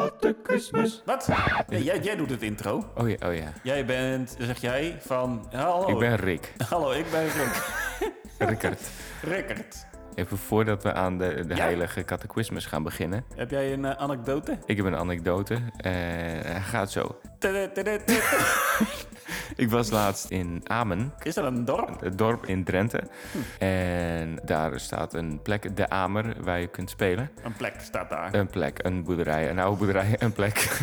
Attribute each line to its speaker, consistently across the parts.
Speaker 1: Catechismus.
Speaker 2: Wat? Nee, jij, jij doet het intro.
Speaker 1: Oh ja, oh ja.
Speaker 2: Jij bent, zeg jij, van... Hallo,
Speaker 1: Ik ben Rick.
Speaker 2: hallo, ik ben Rick.
Speaker 1: Rickert.
Speaker 2: Rickert.
Speaker 1: Even voordat we aan de, de
Speaker 2: Ja.
Speaker 1: heilige catechismus gaan beginnen.
Speaker 2: Heb jij een eh, anekdote?
Speaker 1: Ik heb een anekdote. Eh, hij gaat zo.
Speaker 2: Tudutudutu.
Speaker 1: Ik was laatst in Amen,
Speaker 2: Is dat een dorp?
Speaker 1: het dorp in Drenthe. En daar staat een plek, de Amer, waar je kunt spelen.
Speaker 2: Een plek staat daar.
Speaker 1: Een plek, een boerderij, een oude boerderij, een plek.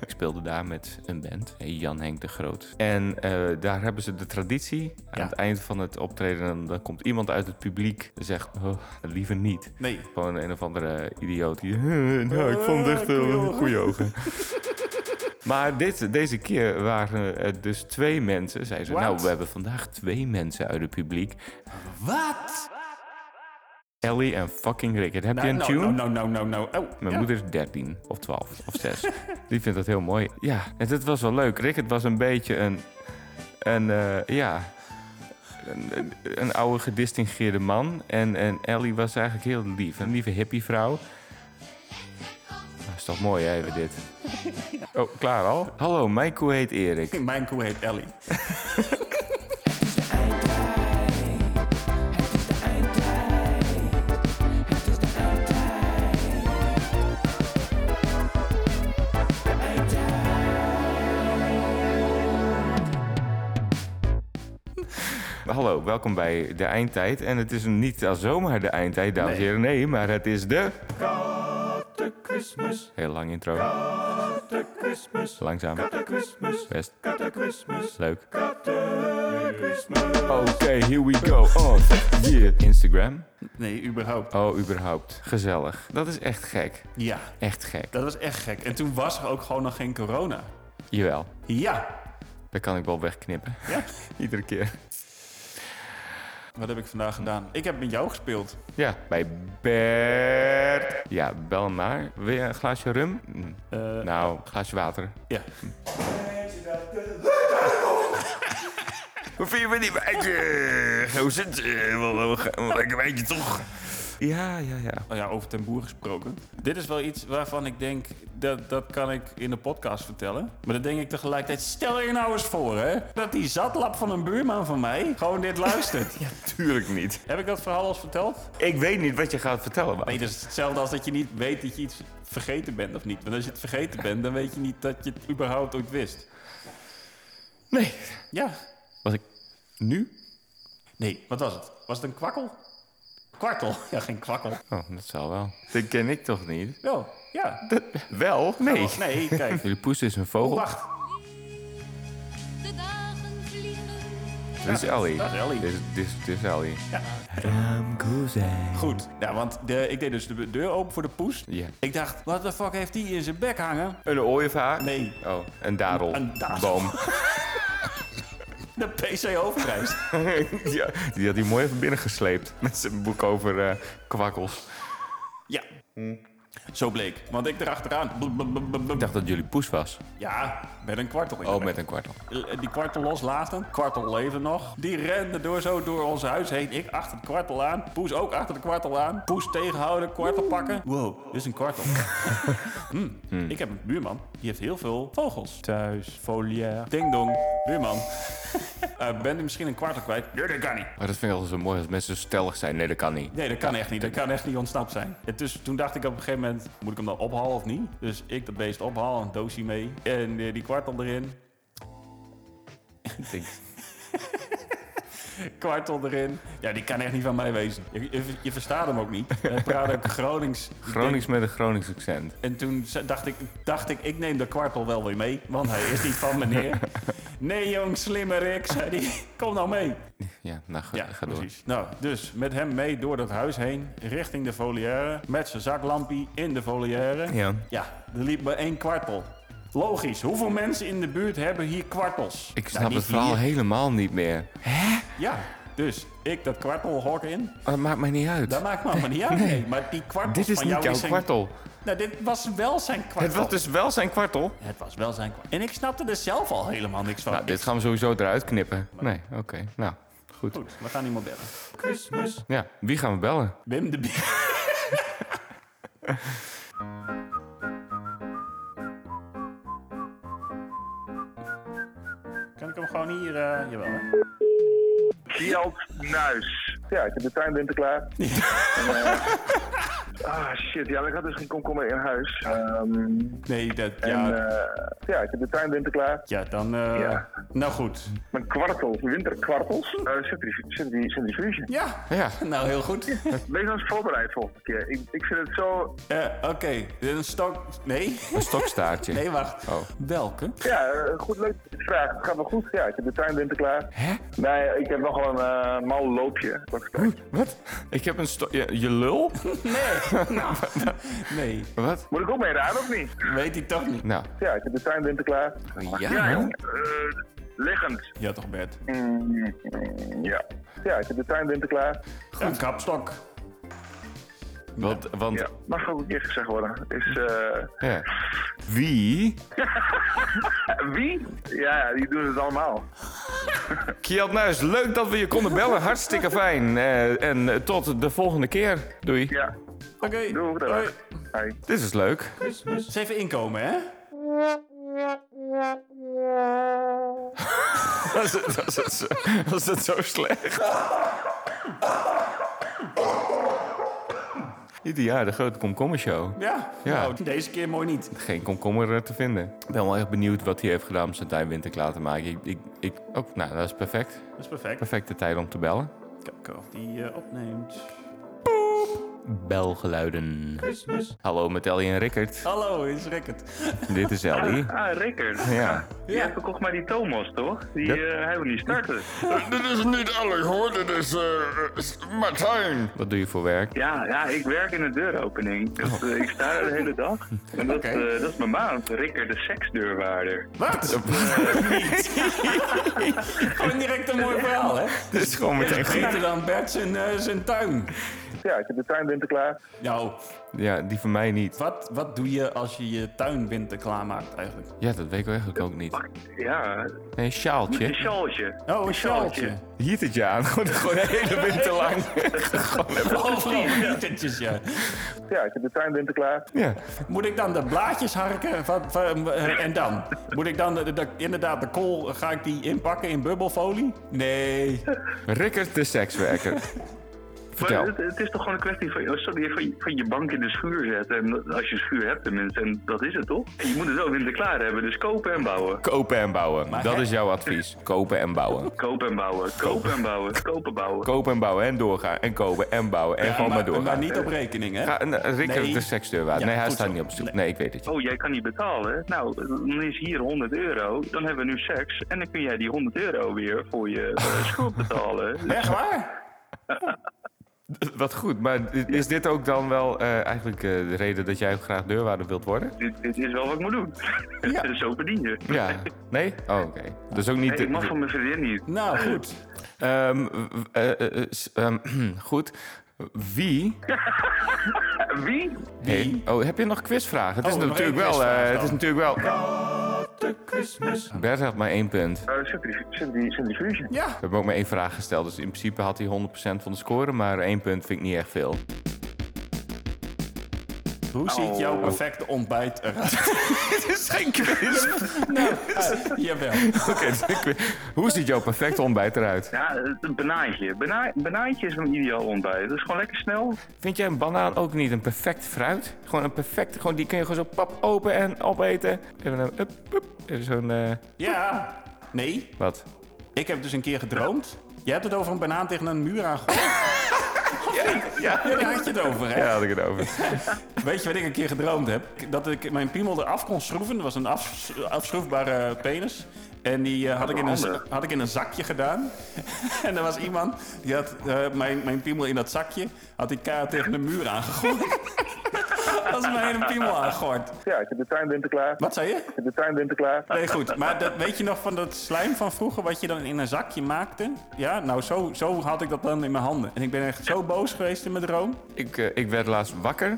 Speaker 1: ik speelde daar met een band, Jan Henk de Groot. En eh, daar hebben ze de traditie. Aan
Speaker 2: Ja.
Speaker 1: het eind van het optreden dan, dan komt iemand uit het publiek en zegt... Oh, liever niet.
Speaker 2: Nee.
Speaker 1: Gewoon een of andere idioot die... nou, ik vond het echt
Speaker 2: Eh,
Speaker 1: een
Speaker 2: koeie
Speaker 1: goede ogen. Maar dit, deze keer waren het dus twee mensen. Zeiden ze,
Speaker 2: Wat?
Speaker 1: nou, we hebben vandaag twee mensen uit het publiek.
Speaker 2: Wat?
Speaker 1: Ellie en fucking Rickert. Heb
Speaker 2: Nou,
Speaker 1: je een
Speaker 2: nou,
Speaker 1: tune?
Speaker 2: nou, nou, nou, nou, nou. Oh,
Speaker 1: Mijn
Speaker 2: ja.
Speaker 1: moeder is 13 of 12 of 6. Die vindt dat heel mooi. Ja, en het was wel leuk. Rick, het was een beetje een. een eh, ja. Een, een- een oude gedistingeerde man. En, en Ellie was eigenlijk heel lief. Een lieve hippievrouw. Dat is toch mooi, hè, even dit. Oh, klaar al? Hallo, mijn koe heet Erik.
Speaker 2: Mijn koe heet Ellie.
Speaker 1: Hallo, welkom bij de eindtijd. En het is niet al zomaar de eindtijd, dames en
Speaker 2: Nee.
Speaker 1: heren. Nee, maar het is de...
Speaker 2: Catechismus,
Speaker 1: Heel lang intro.
Speaker 2: catechismus,
Speaker 1: Langzaam.
Speaker 2: catechismus,
Speaker 1: Best
Speaker 2: catechismus,
Speaker 1: leuk.
Speaker 2: catechismus.
Speaker 1: Oké, here we go. On. Yeah. Instagram.
Speaker 2: Nee, überhaupt.
Speaker 1: Oh, überhaupt. Gezellig. Dat is echt gek.
Speaker 2: Ja,
Speaker 1: Echt gek.
Speaker 2: dat was echt gek. En toen was er ook gewoon nog geen corona.
Speaker 1: Jawel.
Speaker 2: Ja.
Speaker 1: Dat kan ik wel wegknippen.
Speaker 2: Ja.
Speaker 1: Iedere keer.
Speaker 2: Wat heb ik vandaag gedaan? Ik heb met jou gespeeld.
Speaker 1: Ja, bij Bert. Ja, bel maar. Wil je een glaasje rum? Mm,
Speaker 2: Eh,
Speaker 1: Nou, een glaasje water.
Speaker 2: Ja.
Speaker 1: Hoe vind je die wijntje? Hoe zit het? Eh, Wel lekker wijntje toch? Ja, ja, ja.
Speaker 2: Oh ja, over ten boer gesproken. Dit is wel iets waarvan ik denk, dat, dat kan ik in de podcast vertellen. Maar dan denk ik tegelijkertijd, stel je nou eens voor hè, dat die zatlap van een buurman van mij gewoon dit luistert.
Speaker 1: Tuurlijk niet.
Speaker 2: Heb ik dat verhaal al eens verteld?
Speaker 1: Ik weet niet wat je gaat vertellen. maar-
Speaker 2: Nee, dat is hetzelfde als dat je niet weet dat je iets vergeten bent of niet. Want als je het vergeten bent, dan weet je niet dat je het überhaupt ooit wist.
Speaker 1: Nee.
Speaker 2: Ja.
Speaker 1: Was ik nu?
Speaker 2: Nee, wat was het? Was het een kwakkel? Kwartel? Ja, geen kwakkel.
Speaker 1: Oh, dat zal wel. Dat ken ik toch niet?
Speaker 2: Wel, ja.
Speaker 1: Wel? Oh, Nee.
Speaker 2: Oh, nee, kijk.
Speaker 1: Jullie poes is een vogel.
Speaker 2: Wacht.
Speaker 3: De dagen vliegen.
Speaker 1: Dit is Ellie.
Speaker 2: dat is Ellie.
Speaker 1: Dit is, dit is, dit is Ellie.
Speaker 2: Ja.
Speaker 1: Raamkozijn.
Speaker 2: Goed. Ja, want de, ik deed dus de deur open voor de poes.
Speaker 1: Ja.
Speaker 2: Ik dacht, wat de fuck heeft die in zijn bek hangen?
Speaker 1: Een ooievaar?
Speaker 2: Nee.
Speaker 1: Oh, een darel.
Speaker 2: Een darel.
Speaker 1: Boom.
Speaker 2: De PC-hoofdprijs.
Speaker 1: ja, die had hij mooi even binnengesleept. Met zijn boek over eh, kwakkels.
Speaker 2: ja. Zo bleek. Want ik erachteraan. Blub, blub, blub, blub, blub.
Speaker 1: Hm. Ik dacht dat jullie poes was.
Speaker 2: Ja, met een kwartel. in de
Speaker 1: Oh,
Speaker 2: bek.
Speaker 1: met een kwartel.
Speaker 2: Eh, Die kwartel loslaten. Kwartel leven nog. Die rende door zo door ons huis heen. Ik achter het kwartel aan. Poes ook achter de kwartel aan. Poes tegenhouden. Kwartel pakken. Wow, dit is een kwartel. Hm. Ik heb een buurman. Die heeft heel veel vogels. Thuis. Foliair. Ding dong. Buurman. Eh ben je misschien een kwartel kwijt? Nee, dat kan niet.
Speaker 1: Maar dat vind ik altijd zo mooi als mensen zo stellig zijn. Nee, dat kan niet.
Speaker 2: Nee, dat kan echt niet. Dat kan echt niet ontsnapt zijn. En dus toen dacht ik op een gegeven moment, moet ik hem dan ophalen of niet? Dus ik dat beest ophalen, een doosje mee. En eh, die kwartel erin.
Speaker 1: Ik denk,
Speaker 2: kwartel erin. Ja, die kan echt niet van mij wezen. Je, je, je verstaat hem ook niet. Hij praat ook Gronings.
Speaker 1: Gronings met een Gronings accent.
Speaker 2: En toen ze- dacht ik, dacht ik, ik neem de kwartel wel weer mee, want hij is niet van meneer. Nee jong, slimme Rick, zei hij. Kom nou mee.
Speaker 1: Ja, nou, ga,
Speaker 2: Ja,
Speaker 1: ga door.
Speaker 2: precies. Nou, dus met hem mee door dat huis heen, richting de volière, met zijn zaklampie in de volière.
Speaker 1: Ja.
Speaker 2: Ja, er liep maar één kwartel. Logisch, hoeveel mensen in de buurt hebben hier kwartels?
Speaker 1: Ik
Speaker 2: Nou,
Speaker 1: snap
Speaker 2: niet
Speaker 1: het verhaal
Speaker 2: hier.
Speaker 1: helemaal niet meer.
Speaker 2: Ja, dus ik dat kwartelhok in,
Speaker 1: Maar het maakt mij niet uit.
Speaker 2: Dat maakt me allemaal niet uit. Nee. Maar die kwartel
Speaker 1: Dit is
Speaker 2: van
Speaker 1: niet
Speaker 2: jou
Speaker 1: jouw
Speaker 2: is zijn...
Speaker 1: kwartel.
Speaker 2: Nou, dit was wel zijn kwartel.
Speaker 1: Het was dus wel zijn kwartel.
Speaker 2: Het was wel zijn kwartel. En ik snapte er zelf al helemaal niks van.
Speaker 1: Nou, dit gaan we sowieso eruit knippen. Nee, oké. Nou, goed.
Speaker 2: Goed, we gaan iemand bellen. Christmas.
Speaker 1: Ja, wie gaan we bellen?
Speaker 2: Wim de Bier. Kan ik hem gewoon hier... eh, jawel, hè?
Speaker 4: Gjald Nuis. Ja, ik heb de tuinwinter klaar. En, eh, ah, shit. Ja, maar ik had dus geen komkommer in huis. Ehm,
Speaker 2: Nee, dat...
Speaker 4: en,
Speaker 2: Ja,
Speaker 4: eh, ja, ik heb de tuinwinter klaar.
Speaker 2: ja dan... eh,
Speaker 4: ja.
Speaker 2: Nou goed.
Speaker 4: Mijn kwartel, winterkwartels, eh, zitten die- zitten die- zitten die vriezen.
Speaker 2: Ja.
Speaker 1: Ja.
Speaker 2: Nou, heel goed.
Speaker 4: Wees nou eens voorbereid volgende keer. Ik, ik vind het zo...
Speaker 2: Eh, Oké, dit is een stok... Nee?
Speaker 1: Een stokstaartje.
Speaker 2: Nee, wacht.
Speaker 1: Oh.
Speaker 2: Welke?
Speaker 4: Ja, eh, goed, leuk dat je het vraagt. Het gaat wel goed. Ja, ik heb de tuinwinter klaar.
Speaker 1: Hè?
Speaker 4: Nee, ik heb nog wel een eh, mal loopje. Wat is dat?
Speaker 1: Wat? Ik heb een stok... Je, je lul?
Speaker 2: Nee. Nou. Nee.
Speaker 1: Wat?
Speaker 4: Moet ik ook mee raden of niet?
Speaker 2: Weet hij toch niet.
Speaker 1: Nou.
Speaker 4: Ja, ik heb de tuinwinter klaar. Ja,
Speaker 1: man.
Speaker 4: jong. Eh, liggend.
Speaker 2: Ja, toch, Bert.
Speaker 4: Mm, mm, ja. ja, ik heb de tuinwinter klaar.
Speaker 2: Een kapstok.
Speaker 1: Want, want
Speaker 4: Ja, mag ook een keer gezegd worden. Is, eh,
Speaker 1: ja. wie...
Speaker 4: wie? Ja, die doen het allemaal.
Speaker 1: Kjeld Nuis, leuk dat we je konden bellen. Hartstikke fijn. Eh, en eh, tot de volgende keer. Doei.
Speaker 4: Ja,
Speaker 2: Oké.
Speaker 4: doe
Speaker 2: hoi.
Speaker 4: dat. Hoi.
Speaker 1: Dit is leuk.
Speaker 2: Dus even inkomen, hè?
Speaker 1: Was het, was het, zo- was het zo slecht? Ieder jaar de grote komkommershow.
Speaker 2: Ja.
Speaker 1: Ja.
Speaker 2: Nou, deze keer mooi niet.
Speaker 1: Geen komkommer eh, te vinden. Ik ben wel echt benieuwd wat hij heeft gedaan om zijn tuin winter klaar te maken. Ik, ik, ik, ook, nou, dat is perfect.
Speaker 2: Dat is perfect.
Speaker 1: Perfecte tijd om te bellen.
Speaker 2: Kijken of die eh, opneemt.
Speaker 1: Belgeluiden. Hallo met Ellie en Rickert.
Speaker 2: Hallo, is Rickert.
Speaker 1: Dit is Ellie.
Speaker 4: Ah, Rickert.
Speaker 1: Ja.
Speaker 4: Jij verkocht maar die Thomas, toch? Die eh, hij wil niet starten.
Speaker 5: Dit is niet Ellie hoor, dit is eh Martijn.
Speaker 1: Wat doe je voor werk?
Speaker 4: Ja, ja, ik werk in de deuropening. Dus, eh, ik sta daar de hele dag. En dat,
Speaker 2: Oké.
Speaker 4: eh, dat is mijn baan. Rickert, de seksdeurwaarder.
Speaker 2: Wat? Eh, niet. Gewoon direct een mooi verhaal, hè?
Speaker 1: Dit is gewoon meteen
Speaker 2: Vergeet dan Bert zijn, eh, zijn tuin.
Speaker 4: Ja, ik heb de tuinwinter klaar.
Speaker 2: Nou,
Speaker 1: Ja, die van mij niet.
Speaker 2: wat, wat doe je als je je tuin winter klaarmaakt eigenlijk? Oh,
Speaker 1: Ja, dat weet ik eigenlijk ook niet.
Speaker 4: Ja,
Speaker 1: Nee, een
Speaker 4: een
Speaker 1: sjaaltje.
Speaker 4: sjaaltje.
Speaker 2: Oh, een sjaaltje.
Speaker 1: Hiet het je aan. Gewoon gewoon de hele winter lang. Gewoon even-
Speaker 2: Overal gietertjes, ja.
Speaker 4: Ja, ik heb de tuinwinter klaar.
Speaker 1: Ja.
Speaker 2: Moet ik dan de blaadjes harken? Van, van, eh, en dan? Moet ik dan de, de- inderdaad de kool, ga ik die inpakken in bubbelfolie? Nee.
Speaker 1: Rickert de sekswerker.
Speaker 4: Maar
Speaker 1: Vertel.
Speaker 4: het, het is toch gewoon een kwestie van, oh, sorry, van, je- van je bank in de schuur zetten. En dat- als je een schuur hebt tenminste, en dat is het toch? En je moet het ook winter klaar hebben, dus kopen en bouwen.
Speaker 1: Kopen en bouwen.
Speaker 2: Maar
Speaker 1: dat
Speaker 2: hè?
Speaker 1: is jouw advies. Kopen en bouwen.
Speaker 4: Kopen en bouwen, kopen en bouwen, kopen bouwen.
Speaker 1: Kopen en bouwen en doorgaan. En kopen en bouwen. En gewoon maar, doorgaan.
Speaker 2: Maar niet op rekening, hè?
Speaker 1: Ga- nou, Rickert
Speaker 2: Nee.
Speaker 1: de seksdeurwaarde.
Speaker 2: Ja,
Speaker 1: nee, hij
Speaker 2: goed
Speaker 1: staat
Speaker 2: zo.
Speaker 1: niet op zoek. Nee, ik weet het.
Speaker 4: Oh, jij kan niet betalen. Nou, dan is hier 100 euro. Dan hebben we nu seks. En dan kun jij die 100 euro weer voor je eh, schuld betalen.
Speaker 2: Echt waar?
Speaker 1: Wat goed. Maar is dit ook dan wel eh, eigenlijk eh, de reden dat jij graag deurwaarder wilt worden?
Speaker 4: Dit, dit is wel wat ik moet doen. Dus
Speaker 2: Ja.
Speaker 4: Zo verdien je.
Speaker 1: Ja. Nee? Oh, oké. Dat is ook niet...
Speaker 4: Nee, ik mag van mijn vriendin niet.
Speaker 2: Nou, goed.
Speaker 1: Ehm, w- eh, eh, s- ehm, goed. Wie
Speaker 4: Eh, Wie?
Speaker 1: Hey, oh, heb je nog quizvragen? Het,
Speaker 2: Oh,
Speaker 1: is,
Speaker 2: nog
Speaker 1: natuurlijk
Speaker 2: één
Speaker 1: wel,
Speaker 2: quizvraag
Speaker 1: eh, het
Speaker 2: dan.
Speaker 1: is natuurlijk wel... Bert had maar één punt. We
Speaker 4: Eh, Zit die- zit die- zit die fusion?
Speaker 2: Ja.
Speaker 1: hebben ook maar één vraag gesteld. Dus in principe had hij 100% van de score. Maar één punt vind ik niet echt veel.
Speaker 2: Hoe ziet jouw perfecte ontbijt eruit?
Speaker 1: Oh. Dit is geen quiz.
Speaker 2: Ah, jawel.
Speaker 1: dus Hoe ziet jouw perfecte ontbijt eruit?
Speaker 4: Ja, een banaantje. Bana banaantje is mijn ideaal ontbijt. Dat is gewoon lekker snel.
Speaker 1: Vind jij een banaan ook niet een perfect fruit? Gewoon een perfecte... Gewoon, die kun je gewoon zo pap open en opeten. Even een... Up, up, even zo'n... eh,
Speaker 2: Ja. Nee,
Speaker 1: wat?
Speaker 2: ik heb dus een keer gedroomd. Je hebt het over een banaan tegen een muur aangegooid.
Speaker 1: Ja,
Speaker 2: Ja, daar had je het over, hè?
Speaker 1: daar had ik het over.
Speaker 2: Weet je wat ik een keer gedroomd heb? Dat ik mijn piemel eraf kon schroeven. Dat was een afs- afschroefbare penis. En die eh, had, ik in een, za-
Speaker 4: handig.
Speaker 2: had ik in een zakje gedaan. en er was iemand die had eh, mijn, mijn piemel in dat zakje... had die kaart tegen de muur aangegooid. dat is mijn hele piemel aangegooid.
Speaker 4: Ja, ik heb de tuinwinter klaar.
Speaker 2: Wat zei je?
Speaker 4: Ik heb de tuinwinter klaar.
Speaker 2: Nee, goed. Maar dat, weet je nog van dat slijm van vroeger... wat je dan in een zakje maakte? Ja, nou zo, zo had ik dat dan in mijn handen. En ik ben echt zo boos geweest in mijn droom.
Speaker 1: Ik, eh, ik werd laatst wakker.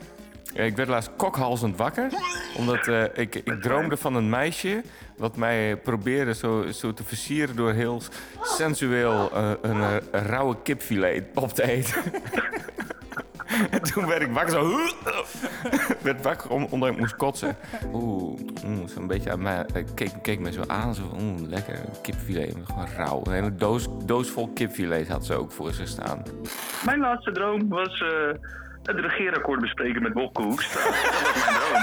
Speaker 1: Eh, Ik werd laatst kokhalzend wakker. Omdat eh, ik, ik droomde van een meisje. wat mij probeerde zo, zo te versieren. door heel sensueel eh, een eh, rauwe kipfilet op te eten. en toen werd ik wakker zo. werd wakker om, omdat ik moest kotsen. Oeh, oeh zo'n beetje aan mij. Hij keek, keek me zo aan, zo oeh, lekker. Kipfilet, gewoon rauw. Een hele doos, doos vol kipfilets had ze ook voor zich staan.
Speaker 4: Mijn laatste droom was eh, het regeerakkoord bespreken met Bob Koeks. Nou, dat was mijn droom.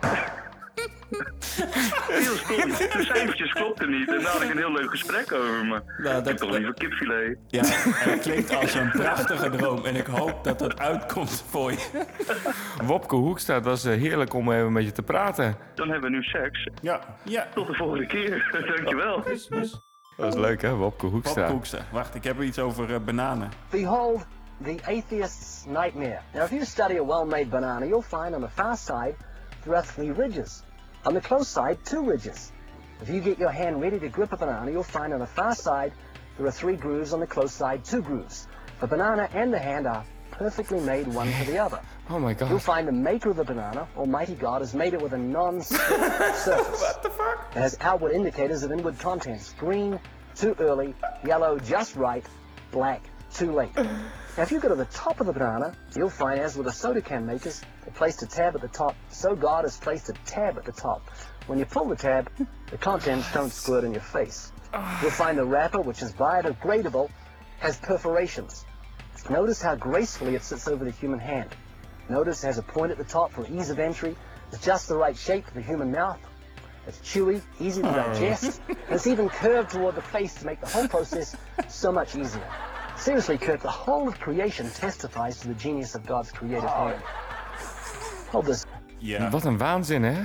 Speaker 4: Dus, ja. Heel stom. De cijfertjes klopten niet. En daar had ik een heel leuk gesprek over. Maar
Speaker 2: Nou, dat-
Speaker 4: ik heb toch liever kipfilet.
Speaker 2: Ja, het klinkt als een prachtige droom. En ik hoop dat dat uitkomt voor je.
Speaker 1: Wopke Hoekstra, dat was eh, heerlijk om even met je te praten.
Speaker 4: Dan hebben we nu seks.
Speaker 2: Ja, ja.
Speaker 4: Tot de volgende keer. Dankjewel.
Speaker 1: Dat is leuk, hè? Wopke Hoekstra.
Speaker 2: Popkoekster. Wacht, ik heb iets over eh, bananen.
Speaker 6: Behold the atheist's nightmare. Now, if you study a well made banana, you'll find on the far side there are three ridges. On the close side, two ridges. If you get your hand ready to grip a banana, you'll find on the far side there are three grooves, on the close side, two grooves. The banana and the hand are perfectly made one for the other.
Speaker 1: Oh my
Speaker 6: You'll
Speaker 1: god.
Speaker 6: find the maker of the banana, Almighty God, has made it with a non-slip surface. What the fuck? It has outward indicators of inward contents. Green, too early. Yellow, just right. Black, too late. Now, if you go to the top of the banana, you'll find, as with the soda can makers, they placed a tab at the top. So God has placed a tab at the top. When you pull the tab, the contents don't squirt in your face. You'll find the wrapper, which is biodegradable, has perforations. Notice how gracefully it sits over the human hand. Notice it has a point at the top for ease of entry. It's just the right shape for the human mouth. It's chewy, easy to digest. and it's even curved toward the face to make the whole process so much easier. Seriously, Kurt, the whole of creation testifies to the genius of God's creative hand. Hold this,
Speaker 2: Ja,
Speaker 1: Wat een waanzin, hè?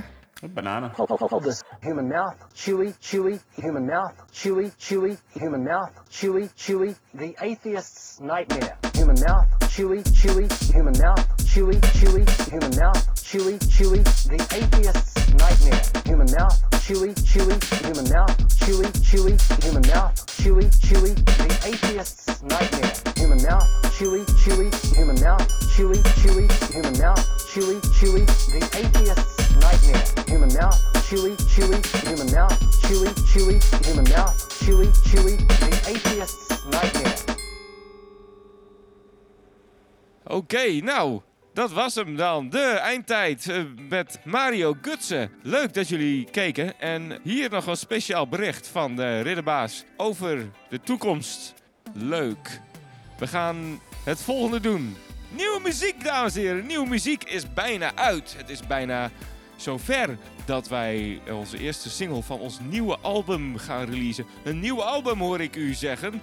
Speaker 2: bananen.
Speaker 6: hold, hold, hold this. Human mouth, chewy, chewy, human mouth, chewy, chewy, human mouth, chewy, chewy. The atheist's nightmare. Human mouth, chewy, chewy, human mouth, chewy, chewy, human mouth, chewy, chewy. The atheist's nightmare. Human mouth, chewy, chewy, human mouth, chewy, chewy, human mouth, chewy, chewy. The atheist's nightmare. Human mouth, chewy, chewy, human mouth, chewy, chewy, human mouth, chewy, chewy. The atheist's nightmare. Human mouth, chewy, chewy, human mouth, chewy, chewy, human mouth, chewy, chewy. The atheist's nightmare.
Speaker 1: Oké, nou, dat was hem dan. De eindtijd eh, met Mario Gutsen. Leuk dat jullie keken. En hier nog een speciaal bericht van de Ridderbaas over de toekomst. Leuk. We gaan het volgende doen. Nieuwe muziek, dames en heren. Nieuwe muziek is bijna uit. Het is bijna zover dat wij onze eerste single van ons nieuwe album gaan releasen. Een nieuw album hoor ik u zeggen.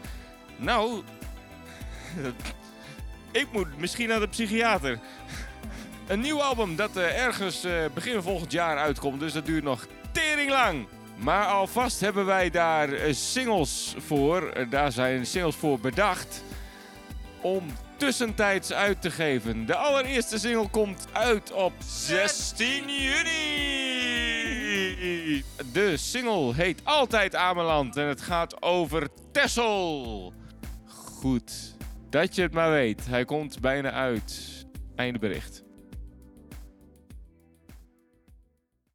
Speaker 1: Nou, ik moet misschien naar de psychiater. Een nieuw album dat eh, ergens eh, begin volgend jaar uitkomt, dus dat duurt nog tering lang. Maar alvast hebben wij daar eh, singles voor. Eh, daar zijn singles voor bedacht om tussentijds uit te geven. De allereerste single komt uit op 16 juni. De single heet Altijd Ameland en het gaat over Tessel. Goed. Dat je het maar weet. Hij komt bijna uit. Einde bericht.